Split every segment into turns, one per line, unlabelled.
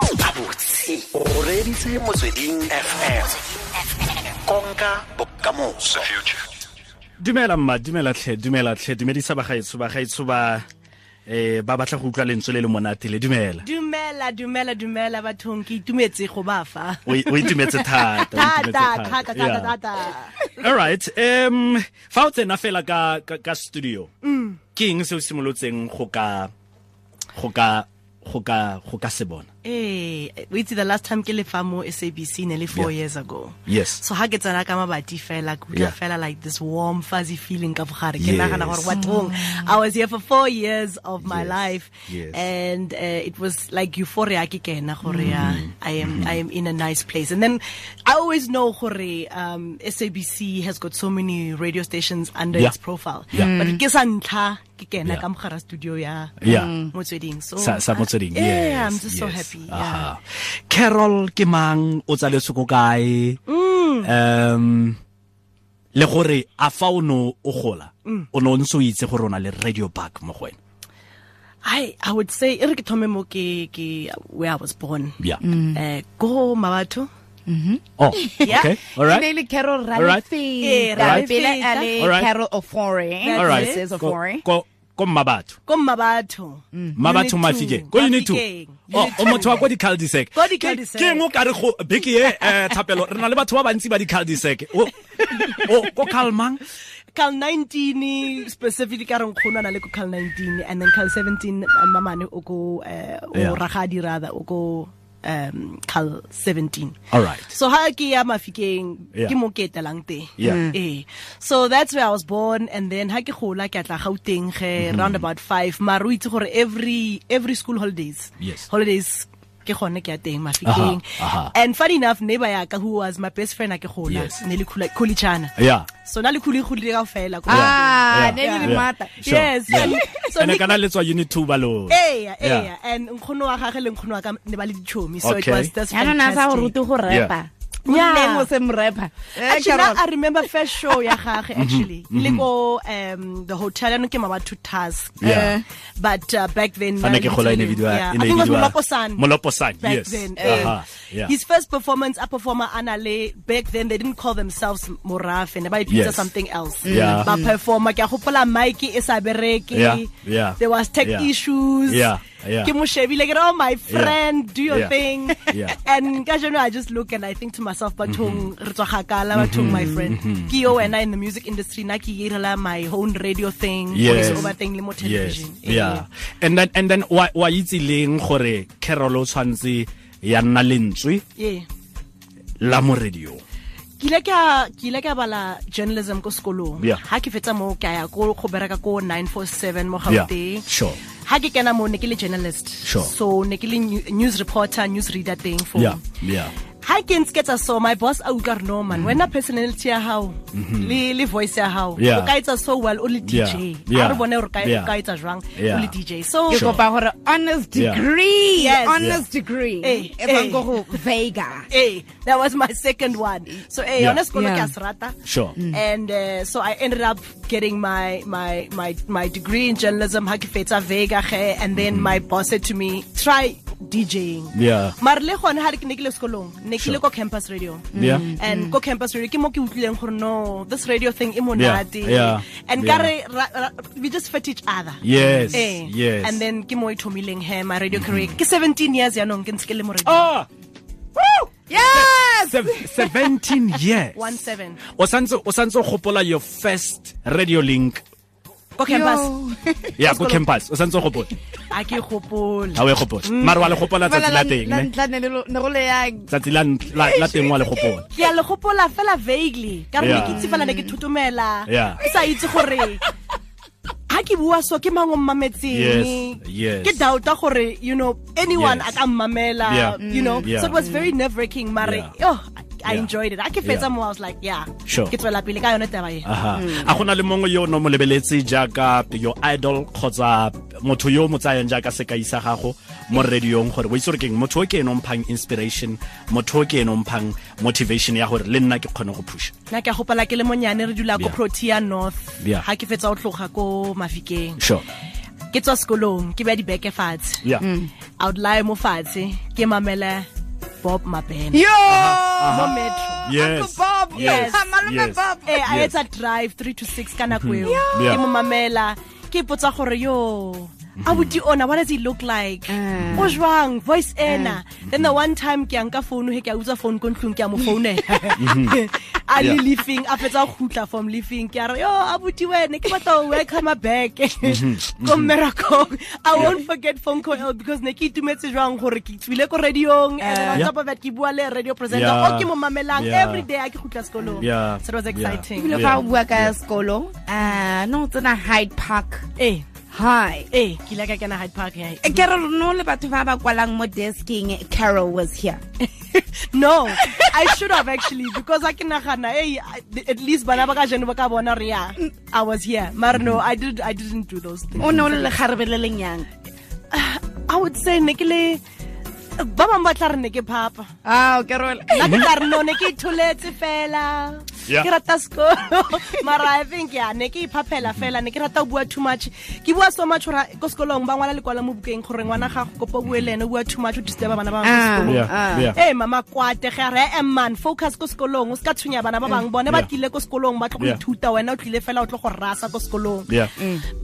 botse o reditse motsweding fm konka bokamoso
dumela mma dumela tlhe dumela tlhe dumedisa bagaetsho bagaetsho ba eh ba batla go utlwa lentswe le le monate le dumela
dumela dumela dumela bathong ke itumetse go ba fa
o i- o itumetse thata o itumetse
thata
thata.
thata
Yeah.
thata thata
all right um fa o tsena fela ka ka, ka studio ke eng se o simolotseng go ka go ka go ka go ka se bona
ee o itse the last time ke lefa mo sabc ne le four
Yeah.
years ago
yes
so ha ke tsena ka mabati fela ke
Yeah.
utlwa fela like this warm fuzzy feeling ka bogare
Yes.
ke nagana gore bathong i was here for four years of my
Yes.
life
Yes.
and uh, it was like euphoria ke kena gore uh,
Mm-hmm.
i am i am in a nice place and then i always know gore um sabc has got so many radio stations under
Yeah.
its profile
Yeah.
but ke sa ntlha ke kena
Yeah.
ka mogara studio ya
Yeah.
motsweding so
sa sa motsweding
Oh, I- yeah
yes
i'm just so
yes.
happy yeah.
Aha. carol ke mang o tsaletswe ko kae
Mm.
um le gore a fa o no o gola
Mm.
o ne o ntse o itse gore o na le radio back mo go wena
I I would say e re ke thome mo ke ke where I was born.
Yeah.
Eh go Mabatho.
oh
Yeah.
okay all
E ne
right
le Carol
Alright.
Eh,
Ralefeta.
Ralefeta.
Pele a le
Alright.
Carol Ofori.
That's
all right
This is
Ko-
Ofori.
ko ko mmabatho
Go Mabatho.
mabatho
Unit two.
mafike ko unit two
Mafikeng.
Oh,
Unit
o motho wa ko di-caldisec
Ko
Ke-
di-cul-de-sac.
ke eng o kare go beke e eh, thapelo re na le batho ba bantsi ba di-caldisec o o- ko calmang
Cal 19 specifically ka re nkgono na le ko Cal 19 and then Cal 17 uh, mamane o go eh
Yeah.
o ragadi rather o go um Cal 17.
all right
So ha ke ya mafikeng
Yeah.
ke mo ke etelang teng.
Yeah.
Eh. So that's where I was born and then ha ke gola ke atla Gauteng ge
Mm-hmm.
round about 5 mara o itse gore every every school holidays.
Yes.
Holidays ke gone ke ya teng mafikeng.
aha.
And funny enough neighbor ya ka who was my best friend a ke gola
Yes.
ne le khula kholichana.
yeah
So na le khuli khuli ka fela ko.
Ah,
Yeah.
ne le
Yeah.
mata.
Sure.
Yes.
Yeah.
So
and
ne-
kana letswa unit two ba lo Yeah.
Eya, eya. And nkgono wa gagwe le nkgono wa ka ne ba le dichomi so it
Okay.
was that's
Ya nona sa o
fantastic.
rute go rapa. O
Yeah.
neng o se mrapa. Eh,
actually
Carol.
now I remember first show ya
Mm-hmm.
gagwe actually le go um the hotel and ke mama two task
Yeah.
but uh, back then
Fane ke gola e ne
Yeah.
bidiwa-
Yeah.
e ne
I think it was
bidiwa-
Moloposan.
Moloposan,
back
yes.
then
Aha,
eh.
yeah.
his first performance a performer anale back then they didn't call themselves Moraf and by pizza
Yes.
something else
Yeah.
ba performer ke a hopola Mikey e sa bereke
Yeah, yeah,
there was tech
yeah.
issues
Yeah, yeah.
ke mo shebile ke re, oh my friend do your
yeah,
thing
yeah. Mm-hmm.
and ka jeno i just look and i think to myself bathong re tswa gakala bathong my friend ke yo wena in the music industry na ke irela my own radio thing
Yes.
over thing le mo
yes
television Eh,
yeah and then and then wa wa itse leng gore carol o tshwantse ya nna lentswe
yeah
la mo radio
ke ile ka ke ile ka bala journalism ko sekolong
Yeah.
ha ke fetsa mo ka ya ko go bereka ko 947 mo
yeah
Gauteng
sure
ha ke kena mo ne ke le journalist
Sure.
so ne ke le new- news reporter news reader thing for
yeah yeah
ha ke ntse ke tsa so my boss a utlwa re no
Mm-hmm.
man wena personality ya hao le le voice ya hao
Yeah.
o ka etsa so well o le DJ
Yeah.
ha re bone hore o ka
Yeah.
o ka etsa jwang
Yeah.
o le DJ so
Ke kopa gore honest
Yeah.
degree.
Yes.
Honest degree.
Eh,
E bang
eh.
go go Vega.
Eh, that was my second one. So eh,
Yeah.
yeah. honest
Yeah.
yeah. rata.
Sure. Mm.
And uh, so I ended up getting my my my my degree in journalism, Hakifeta Vega, ge, and then my boss said to me, try DJing.
Mm-hmm. Yeah.
Mara le gone ha re ke ne ke le sekolong, ne ke
Sure. Mm.
le ko campus radio. Mm.
Yeah.
And go campus radio ke mo ke utlwileng gore no, this radio thing e monate.
Yeah.
And
Yeah.
ka re ra- ra- we just fit each other.
Yes. Yes.
Eh.
Mm-hmm.
And then ke mo e thomileng he my radio career. Ke 17 years ya nong ke ntse ke le mo radio.
ah
Yes.
sev- 17 years
One seven.
o santse o santse o gopola your first radio link
Go campus.
Yo.
ya go campus o santse o gopola
a ke gopola
ha o e gopola
Mm.
mara wa le gopola
Fela
tsatsi
la
la teng
la
ne
ntla ne le lo- ne go le yang.
tsatsi la nt- la la teng wa le gopola
ke a le gopola fela vaguely ka re ne
Yeah. Mm.
ke itse fela ne ke thotomela
Yeah.
ke sa itse gore ha ke bua so ke mango mmametseng
Yes, yes.
ke doubta gore you know anyone
Yes.
a ka
Yeah.
mmamela you know
Mm.
so it was very nerve wracking mare
Yeah.
oh I- I
Yeah.
enjoyed it. I ke
Yeah.
fetsa mo I was like yeah.
Sure. Ah.
Ke tswela pele ka yone taba e.
aha a gona le mongwe yo o ne o mo lebeletse jaaka your idol kgotsa motho yo o mo tsayang jaaka sekai sa gago mo radiong gore o itse gore keng motho o ke ene o mphang inspiration motho o ke ene o mphang motivation ya gore le nna ke kgone go push
Nna ke a gopala ke le monyane re dula ko
Yeah.
Protea North.
Yeah.
Ha ke fetsa o tloga ko Mafikeng.
sure
ke tswa sekolong ke beya dibeke fatshe
yeah
a lie mo fatshe ke mamela bob mabena
Yo!
mo metro
Uh-huh, yes
Bob,
yes
Malome
yes.
Bob.
Eh, a
Yes. Mm-hmm.
etsa drive 3 to 6 ka nako eo
Yeah. Mm-hmm.
ke mo mamela ke ipotsa gore yo abuti ona what does he look like
Eh.
Mm.
o jwang voice ena then the one time ke a nka founu he ke a utsa founu ko ntlong ke a mo founela a le
Mm-hmm. Yeah.
leafing a fetsa go gutla from leafing ke a re yo abuti wene ke batla go welcome back
Mm-hmm.
ko mmerakong i won't forget phone call because ne ke itumetse jwang gore ke tswile ko radiong and then on
Yeah.
top of that ke bua le radio presenter
Yeah.
o ke mo mamelang
Yeah.
every day a ke gutla sekolong
Yeah.
so it
Yeah.
was exciting
Ebile fa o bua ka sekolo, ah, no tsena Hyde Park.
Eh,
Hi.
eh, ke ile ka kena Hyde Park yeah.
Eh, Ke re no le batho ba ba kwalang mo desking eh, Carol was here.
No, I should have actually because I can hey, I- at least bana ba ka jeno ba ka bona re ya. I was here. But no, I did I didn't do those things.
O ne o le lekgarebe le lenyane.
I would say ne ke le ba bang ba tla re ne ke phapa.
Ah, o ke re o le-
Nna ke tla re no ne ke itholetse fela.
Yeah.
Ke rata sekolo. Mara I think ya ne ke iphapela fela ne ke rata ho bua too much. Ke bua so much hore ko sekolong ba ngwala lekwala mo bukeng gore ngwana ga go kopa o bue le ene o bua too much o disturb bana ba bang ko
Ah.
sekolong.
yeah
Ah.
yeah
e mama kwate ge re e man focus ko sekolong o se ka tshunya bana ba bangwe bone ba
Yeah.
tlile ko sekolong ba tlo go
Yeah.
ithuta wena o tlile fela o tlo go rasa ko sekolong
yeah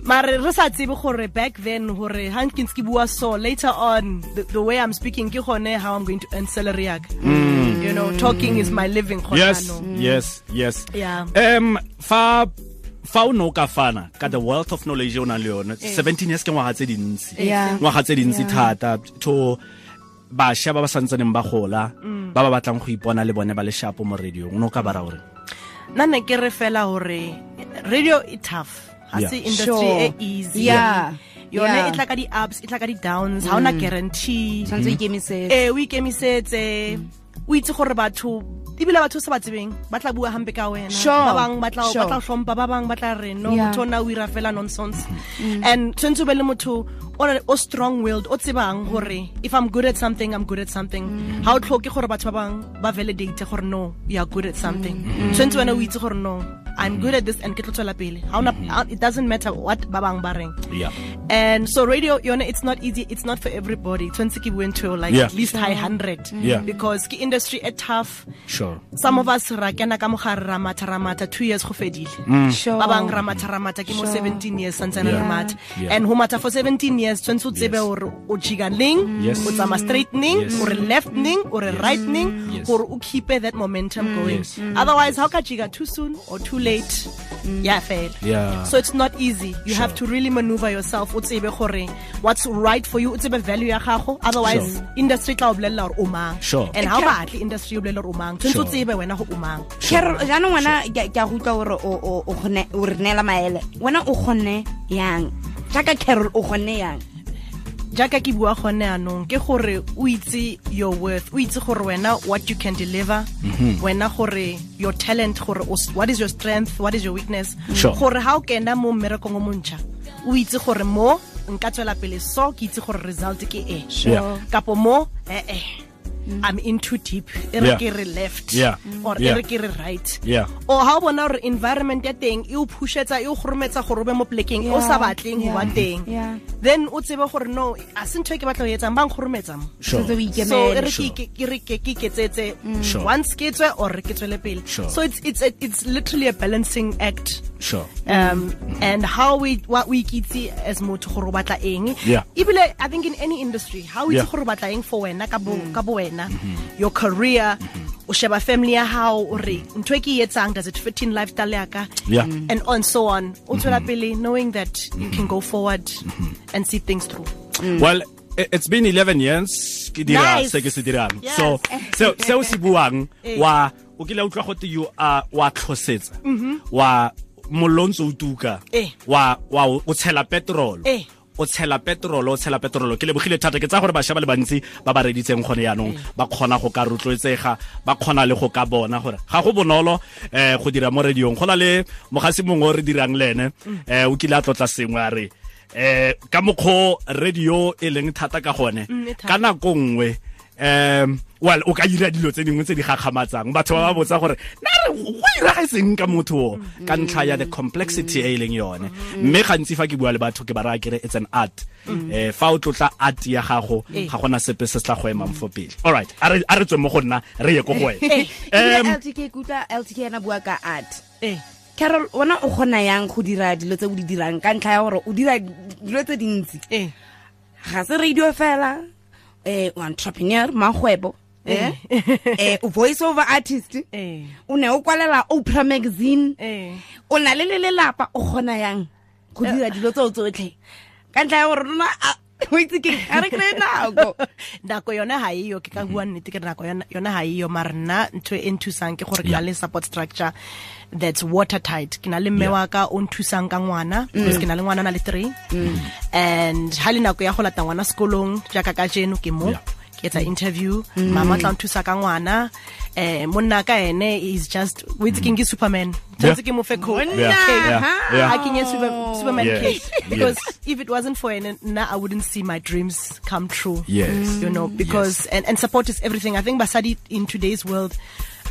mare re sa tsebe gore back then gore ha nke ntse ke bua so later on the, the way i'm speaking ke gone how i'm going to earn salary yaka you know talking is my living
Mm.
gone
yes
jaanong.
yes yes
Mm. Yeah.
um fa fa o ne o ka fana ka the wealth of knowledge o nang le yone
Eh.
17 years ke ngwaga tse dintsi
Yeah.
ngwaga tse dintsi
Yeah.
thata to bašwa ba ba santsaneng ba gola
Mm.
ba ba batlang go ipona le bone ba le shapo mo radiong o ne o ka bara gore
nna ne ke re fela gore radio e tough ga se
Yeah.
industry
Sure.
e easy
Yeah.
yone
Yeah. Mm.
e tla ka di-ups e tla ka di-downs ga ona guarantee
Tshwanetse o ikemisetse.
ee Eh, o ikemisetse o itse gore batho ebile batho o sa ba tsebeng ba tla bua hampe ka wena
Sure,
ba bangwe ba tla
sure.
ba tla o tlhompha ba bangwe ba tla re no
Yeah. Mm.
motho o na o ira fela nonsense and tshwanetse o be le motho o na- o strong willed o tsebang gore if i'm good at something i'm good at something
Mm.
ga o tlhoke gore batho ba bangwe ba validate gore no you are good at something
Mm.
tshwanetse wena o itse gore no i'm good at this and ke tlo tswela pele Ha ona- ha-
Mm.
it doesn't matter what ba bangwe ba reng
yeah
and so radio yona it's not easy it's not for everybody twenty ki went to like
Yeah. Mm.
at least high 100
Yeah.
because ki industry e tough
sure
some of us ra kena ka mogare ra matha ra matha two years go
Mm.
fedile
Sure.
ba bangwe ra matha ra matha ke mo 17 years santsane re
Yeah.
matha
Yeah.
and ho matha for 17 years tshwanetse o tsebe
Yes.
gore o jiga neng
Yes.
o tsamaya straight neng
Yes.
o re left neng o re right neng
Yes. Mm.
gore o keepe that momentum going
Yes. Mm.
otherwise how ka jiga too soon or too late ya fela
Yeah.
so it's not easy you have to really maneuver yourself o tsebe gore what's right for you o tsebe value ya gago otherwise
Sure.
industry tla o bolelela gore o mang
Sure.
and ha o batle industry o bolelela gore o mang tshwanetse o
Sure.
tsebe wena go o mang
Carol, jaanong wena ke a- ke a go utlwa gore o- o- o kgone- o re neela maele wena o kgonne yang jaaka carol o kgonne yang
jaaka ke bua gone anong ke gore o itse your worth o itse gore wena what you can deliver
Mhm.
wena gore your talent gore o s- what is your strength what is your weakness
Sure.
gore ha o kena mo mmerekong o montšha o itse gore mo nka tswela pele so ke itse gore result ke e
Sure. Yeah.
kapo mo ee
Mm.
i'm in too deep e re
Yeah.
ke re left
Yeah.
or e
Yeah.
re ke re right
Yeah.
or ha o bona gore environment ya teng e o pushetsa e o kgorometsa gore o be mo polekeng e o sa
Yeah.
batleng ho ba
Yeah.
teng
Yeah.
then o tsebe gore no a se ntho e ke batla go etsang ba nkgorumetsa mo
sure
Tshwanetse o
so e
ikemele.
re ke- ke- ke re ke ke iketsetse
Mm. Sure.
once ke tswe or re ke tswele pele
Sure.
so it's, it's, a- it's literally a balancing act
sure
um and how we what we kitse as motho gore o batla eng
Yeah.
ebile i think in any industry how we
Yeah. Mm-hmm.
gore o batla eng for wena ka bo ka bo wena your career o sheba family ya hao o re ntho e ke e etsang does it fit in lifestyle ya ka
Yeah. Mm-hmm.
and on so on o tswela pele knowing that you can go forward and see things through
well i- it's been 11 years ke dira
Mm. Nice.
se ke se dirang
Yes.
so se se o se buang
Eh.
wa o kile utlwa gote you are wa tlhosetsa wa molontso o tuka
Mm-hmm. Eh.
wa wa o o tshela petrol
Eh.
o tshela petrol o tshela petrol ke lebogile thata ke tsa gore bašwa ba le bantsi ba ba reditseng gone yaanong
Eh.
ba kgona go ka rotloetsega ba kgona le go ka bona gore ga go bonolo eh go dira mo radiong go na le mogasi mongwe o re dirang le ene
Mm.
eh o kile a tlotla sengwe a re eh ka mokgwa o radio e leng thata ka gone
Mm, e thata.
ka nako nngwe um well o ka ira dilo tse dingwe tse di gakgamatsang batho ba ba botsa gore na re go iragaetseng ka motho o
Mm-hmm.
ka ntlha ya the complexity e e leng yone mme gantsi fa ke bua le batho ke ba raya kere it's an art
Mm-hmm.
Eh, fa o tlotla art ya gago
Eh.
ga gona sepe se se tla go emang fo pele all right a re a re tswe mo go nna re ye ko go
Ee.
Eh,
wena Um,
ebile
Em,
ltk ke utlwa ltk ena bua ka art
Eh.
carol wena o kgona yang go dira dilo tse o di dirang ka ntlha ya gore o dira dilo tse dintsi
Eh.
ga se radio fela eh o entrepreneur magwebo eh eh o voice over artist
Eh.
o ne o kwalela opera magazine
Eh.
o na le le lelapa o kgona yang go dira dilo tseo tsotlhe ka ntlha ya gore rona a- o itse ke eng, ga re kry-e nako
nako yona ga eyo ke ka
Mhm.
bua nnete ke re nako yona- yona ga eyo mare nna ntho e nthusang ke gore ke na
Yeah.
le support structure that's watertight ke na le
Yeah.
mme
Mm.
wa ka o nthusang ka ngwana because ke na le ngwana a na le three and ga le nako ya go lata ngwana sekolong jaaka ka jeno ke mo
Yeah. Mm.
ke etsa interview mama o tla nthusa ka ngwana um monna ka ene is just o itse keng ke superman
Mm. Yeah.
tshwanetse ke mofe coat
Monna,
Yeah, yeah, yeah.
I can yes, Super, Superman
Yes,
cake.
yes.
Because if it wasn't for Enen, nah, I wouldn't see my dreams come true.
Yes.
You know, because, and, and support is everything. I think Basadi in today's world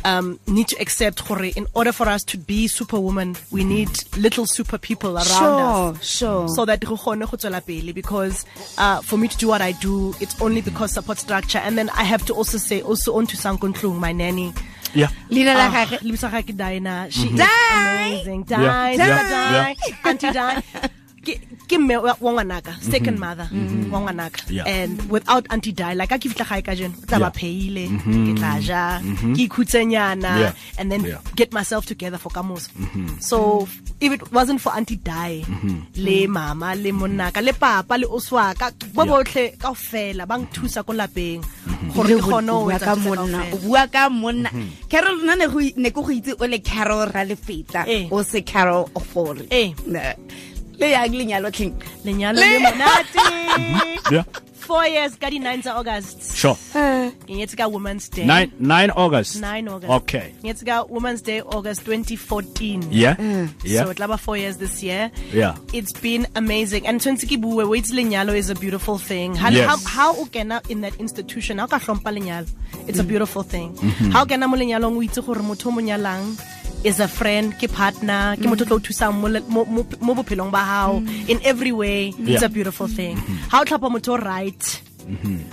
um, need to accept, Hore, in order for us to be superwoman, we
Mm-hmm.
need little super people around us
sure
so that go kgone go tswela pele because uh, for me to do what I do, it's only because support structure. And then I have to also say, also on to Sankontlung, my nanny.
yeah
leina la
Ah,
gage
lebitso ga ke Dinah. She is
Di!
amazing.
Mm-hmm. Yeah,
Di,
yeah, Mm-hmm.
Di, Di, Auntie Di. Ke- ke mme wa wa ngwanaka second mother wa ngwanaka
Yeah.
and without auntie die like a ke fitla gae ka jeno o tla
Yeah.
ba
Mm-hmm.
pheile ke tla ja ke ikhutsenyana
Yeah.
and then
Yeah. Mm-hmm.
get myself together for kamoso so if it wasn't for auntie die le mama le monnaka le papa le oswaka
Yeah.
bo
Mm-hmm.
botlhe kaofela ba nthusa ko lapeng gore
Re
ke
go-
kgone
o
ho
bua
etsa
ka
tse tse
monna
kaofela.
o bua ka monna carol nna ne go- ne ke go itse o le carol ra lefeta
Eh.
o se carol ofore
Eh.
le yang lenyalo tlheng
lenyalo
Le-
le monate
yeah
four years ka di 9 tsa august
sure
ke nyetse ka women's day
9 9 august
9 Ee. august
okay
Ke nyetse ka women's day august 2014
yeah yeah
Mm. So it laba four years this year.
Yeah.
It's been amazing. And Twensikibuwe, wait lenyalo is a beautiful thing. How
Yes.
how how ukena in that institution, how ka hlompa lenyalo. It's
Mm.
a beautiful thing.
Mm-hmm.
How ukena mo lenyalong o itse gore motho o mo nyalang is a friend, ke partner, ke motho o tlo o thusang mo le- mo mo- mo bophelong ba hao in every way. It's
Mm. Yeah. Mm-hmm.
a beautiful thing. How tlhapa motho o right.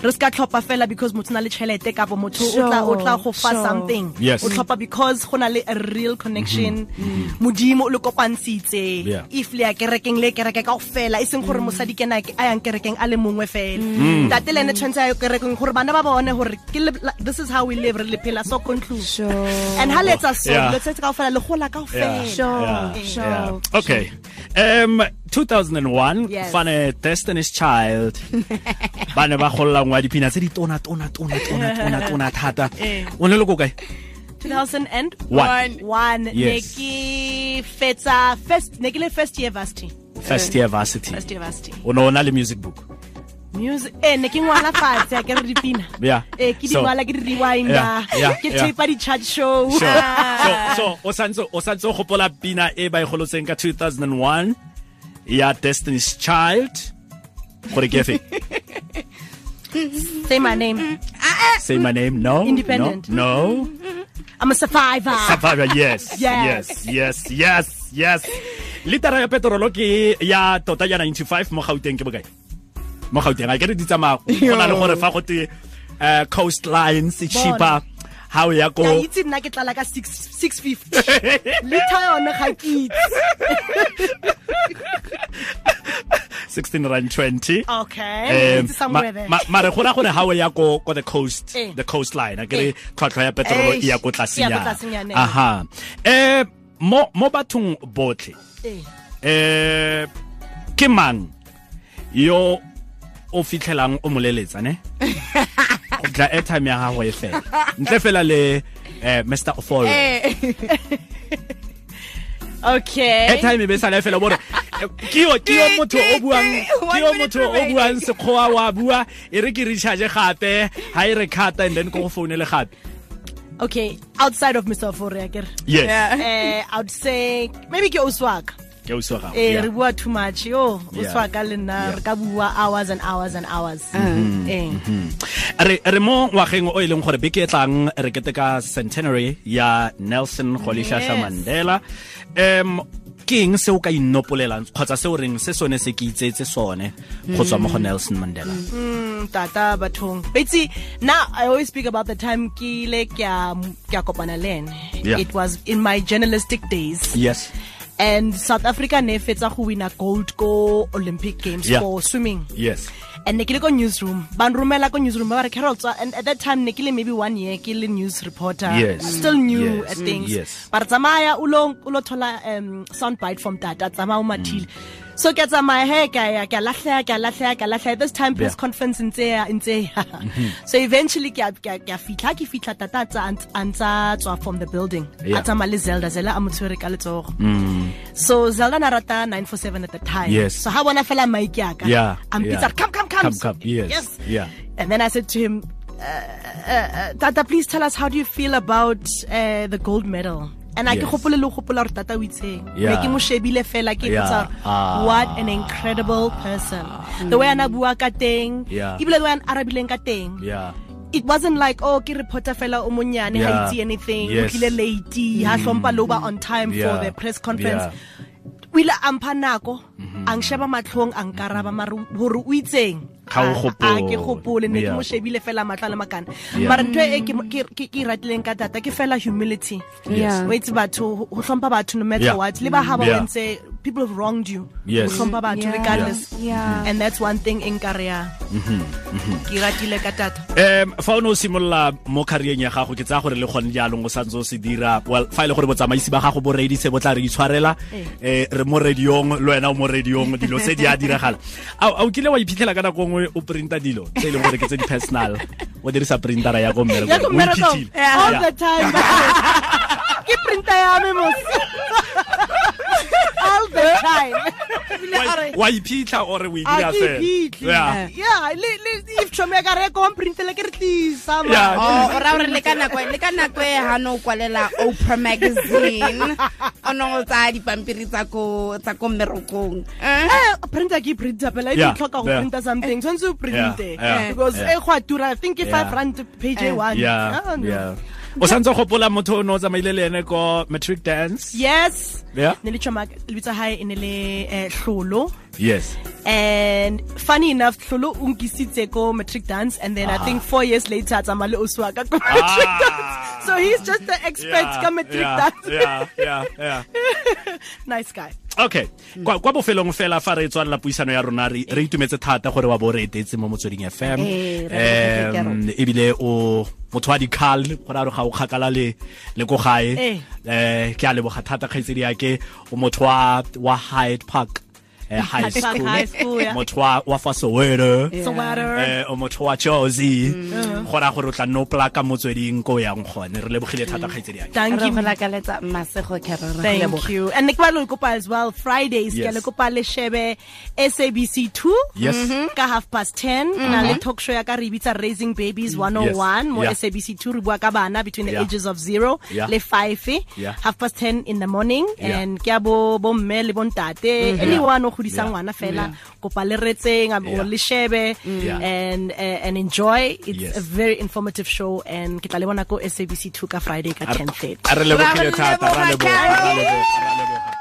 re ska tlhopha fela because motho o na le tšhelete kapo motho o tla- o tla go fa
Sure, sure.
something
Yes.
o tlhopha because go na le a real connection modimo o le kopantshitse
Mm-hmm. Yeah. Mm.
if le ya kerekeng le kereke ka fela e seng gore mosadi ke nake a yang kerekeng a le mongwe fela tate le ene tshwanetse a yo kerekeng gore bana ba bone gore ke le- like, this is how we live re le phela so ko ntlong and ha le etsa so
Yeah.
dilo tsetse ka fela le gola ka
Yeah,
fela
yeah,
Sure,
yeah.
sure.
Okay. Um 2001
Yes.
fane Destiny's Child ba ne ba gollang wa dipina tse di tona tona tona tona tona tona thata.
Eh.
O ne le ko kae?
2001
One.
One. ne
Yes.
ke fetsa first ne ke le first year varsity
First
Eh.
year varsity.
first year varsity
O ne o na le music book.
music eh ne ke ngwala fatshe a ke re dipina
Yeah.
eh ke di
So-
ngwala ke di rewinder
Yeah, yeah,
ke
yeah.
tape di chat show
Sure. so so o santse o santse o gopola pina e ba e golotseng ka 2001 ya Destiny's Child. Gore ke efe?
say my name
Say my name. No. no,
Independent.
No.
i'm a survivor
Sapphire, yes, yes,
Yes.
yes, yes, yes. Litara ya petrolo ke ya tota ya 95 mo Gauteng ke bokae? Mo Gauteng a ke re di tsamaya. Go na le gore fa go te eh, coastline se cheaper how ya
ke a
go
itse nna ke tlala ka 6 650 liter yona ga ke itse
16 rand 20.
okay
Em,
it's
Eh, Um, ma-
somewhere there
ma- mare go ra gore how ya go go the coast
Eh.
the coastline a ke
Eh.
re tlhwatlhwa ya petrolo e ya
Eish,
go
e ya ko tlasenyana,
tlasenyana.
eh.
Aha. Eh mo mo bathong botlhe
Eh,
eh ke mang yo o fitlhelang o moleletsa ne go tla airtime ya gago e fela ntle fela le eh, mr ofol
okay
airtime e be sale fela bore eh, ke yo ke yo motho o buang ke yo motho o buang sekgowa wa bua e re ke recharge gape ha e re khata and then ko go foune le gape
okay outside of mr Ofori, I get-
yes
eh i would say maybe ke oswaka
ke ausi wa gago
eh
yeah.
re bua too much yo o
Yeah. Mm-hmm.
swa ka le nna re ka bua hours and hours and hours eh
re re mo ngwageng o e leng gore beke e tlang re keteka centenary ya nelson golishasha
Yes.
mandela um ke eng se o ka inopolelang kgotsa se o reng se sone se ke itseetse sone go tswa mo go nelson mandela
tata bathong But see, now i always speak about the time ke ile ke a ke a kopana le ene
Yeah.
it was in my journalistic days
yes
and south africa ne e fetsa go win a gold ko olympic games
Yeah.
for swimming
yes
and ne ke le ko newsroom ba nromela ko newsroom ba ba re carol tswa and at that time ne ke le maybe one year ke le news reporter
Yes.
still new
Yes.
at things
Yes.
ba re tsamaya o lo o lo thola um, sound bite from tata tsamaya o mathile
Mm.
so ke a tsamaya he ka ya ka lahlea ka lahlea ka lahlea this time press
Yeah. Mm-hmm.
conference ntse ya ntse ya so eventually ke a ke a- ke a fitla ke fitla tata a tsa- a ntsa- a ntsa tswa from the building
Yeah. Mm.
a tsamaya le zelda zela a mo tshwere ka letsogo so zelda na rata 947 at the time
Yes.
so ha bona fela mike yaka
Yeah,
I'm
yeah.
pizza. Come, come, come.
Come, come, yes,
Yes.
yeah.
And then I said to him, uh, uh, uh, Tata, please tell us how do you feel about uh, the gold medal? And I
Yes.
ke gopole le go gopola gore tata o itse.
Yeah.
Ne ke mo shebile fela ke
Yeah.
ipotsa gore,
Ah. Mm.
what an incredible person. The way ana bua ka teng,
Yeah.
ebile the way a arabileng ka teng.
yeah
It wasn't like oh ke reporter fela o monyane
Yeah.
ha itse anything, o
Yes.
tlile late, ha hlompha le ho ba on time
Yeah.
for the press conference
Yeah.
o ile a mpha nako a nsheba matlhong a nkaraba mare gore o itseng
Ga o
A-
gopole.
a ke gopole ne ke mo
Yeah.
shebile fela matlho a le makana
Yeah.
mara ntho e ke mo- ke ke- ke e ratileng ka data ke fela humility
Yeah.
o itse batho go tlhompha batho no
Yeah.
matter what le ba ga ba
Yeah.
wentse people have wronged you
Yes.
o tlhompha batho
Yeah.
regardless
Yeah.
and that's one thing e nkareya
Mm-hmm.
ke e ratile ka data
um fa o ne o simolola mo carriereng ya gago ke tsaya gore le gone jaanong o santse o se dira well fa e le gore botsamaisi ba gago bo reditse bo tla re itshwarela eh, re mo radiong le wena o mo radiong dilo tse di a diragala a o kile wa iphitlhela ka nako nngwe o printa dilo tse e leng gore ke tse di-personal o dirisa printara ya ko mmereko.
ya ko
O
mmerekong
iphitlhile.
all
Yeah.
the time ke printa ya me mos all the time Ebile
Wa-
a re,
wa iphitlha ore o e
"Ha
dira
ke
fela
iphitlhe."
Yeah.
Yeah, le- le- le- if chomi a ka re ko mprintele ke re tlisa ma."
Yeah.
Oh, o ra hore le ka nako le ka nako e ha no kwalela Oprah magazine o no tsa dipampiri tsa ko tsa ko mmerokong Eh?
Eh, printer ke printer pela if
Yeah,
you tlhoka go
yeah.
printa something tshwanetse o printe
yeah,
because
yeah.
e go a tura i think ke
Yeah.
five rand page e one
Yeah,
Ah, no.
yeah. o santse o gopola motho o ne o tsamaile le ene ko matric dance
yes
Yeah.
ne le chomi lebitsa gae e ne le eh, tlholo
yes
And funny enough, Tlolo unkisitse ko matric dance, and then I think four years later, Tamale Oswaka ko matric
Ah.
dance. So he's just the expert
Yeah,
ka matric
yeah,
dance.
yeah, yeah, yeah.
nice guy.
okay kwa kwa bofelong fela fa re tswalela puisano ya rona re re itumetse thata gore wa bo re etetse mo motsweding fm
Ee,
Eh, re
Em,
lebogile,
ebile o motho wa dical gore a re ga o kgakala le le ko gae
Eh.
um ke a leboga thata kgaitsedi yake o motho wa wa hyde park eh, high
Hyde Park High
school
School, yeah.
motho wa wa fa soweto
So water.
eh, o motho wa jersey go raya gore o tla nne o plaka motsweding ko o yang gone re lebogile thata kgaitsedi yake
Thank
Re
you.
go lakaletsa masego Carol, re go
Thank
leboga.
you. And Nikbalo Kopa as well. Fridays,
Yes.
yes. Kopa le shebe SABC 2.
Yes.
Mhm. Ka half past 10. Na le talk show ya ka re bitsa Raising Babies 101 mo
Yeah.
SABC 2 re bua ka bana between the
Yeah.
ages of 0
Yeah.
le 5. eh,
Yeah.
Half past 10 in the morning
Yeah. Mhm.
and ke a bo bo mme le bontate. Anyone o godisa
Yeah.
ngwana fela kopa le retseng a
Yeah.
bo le shebe
Yeah.
and eh, and enjoy.
Yes.
It's a very informative show and ke tla le bona ko SABC 2 ka Friday ka 10:30.
a re lebogile thata ra leboga,
Ra leboga,
ra
Carol.
leboga ra leboga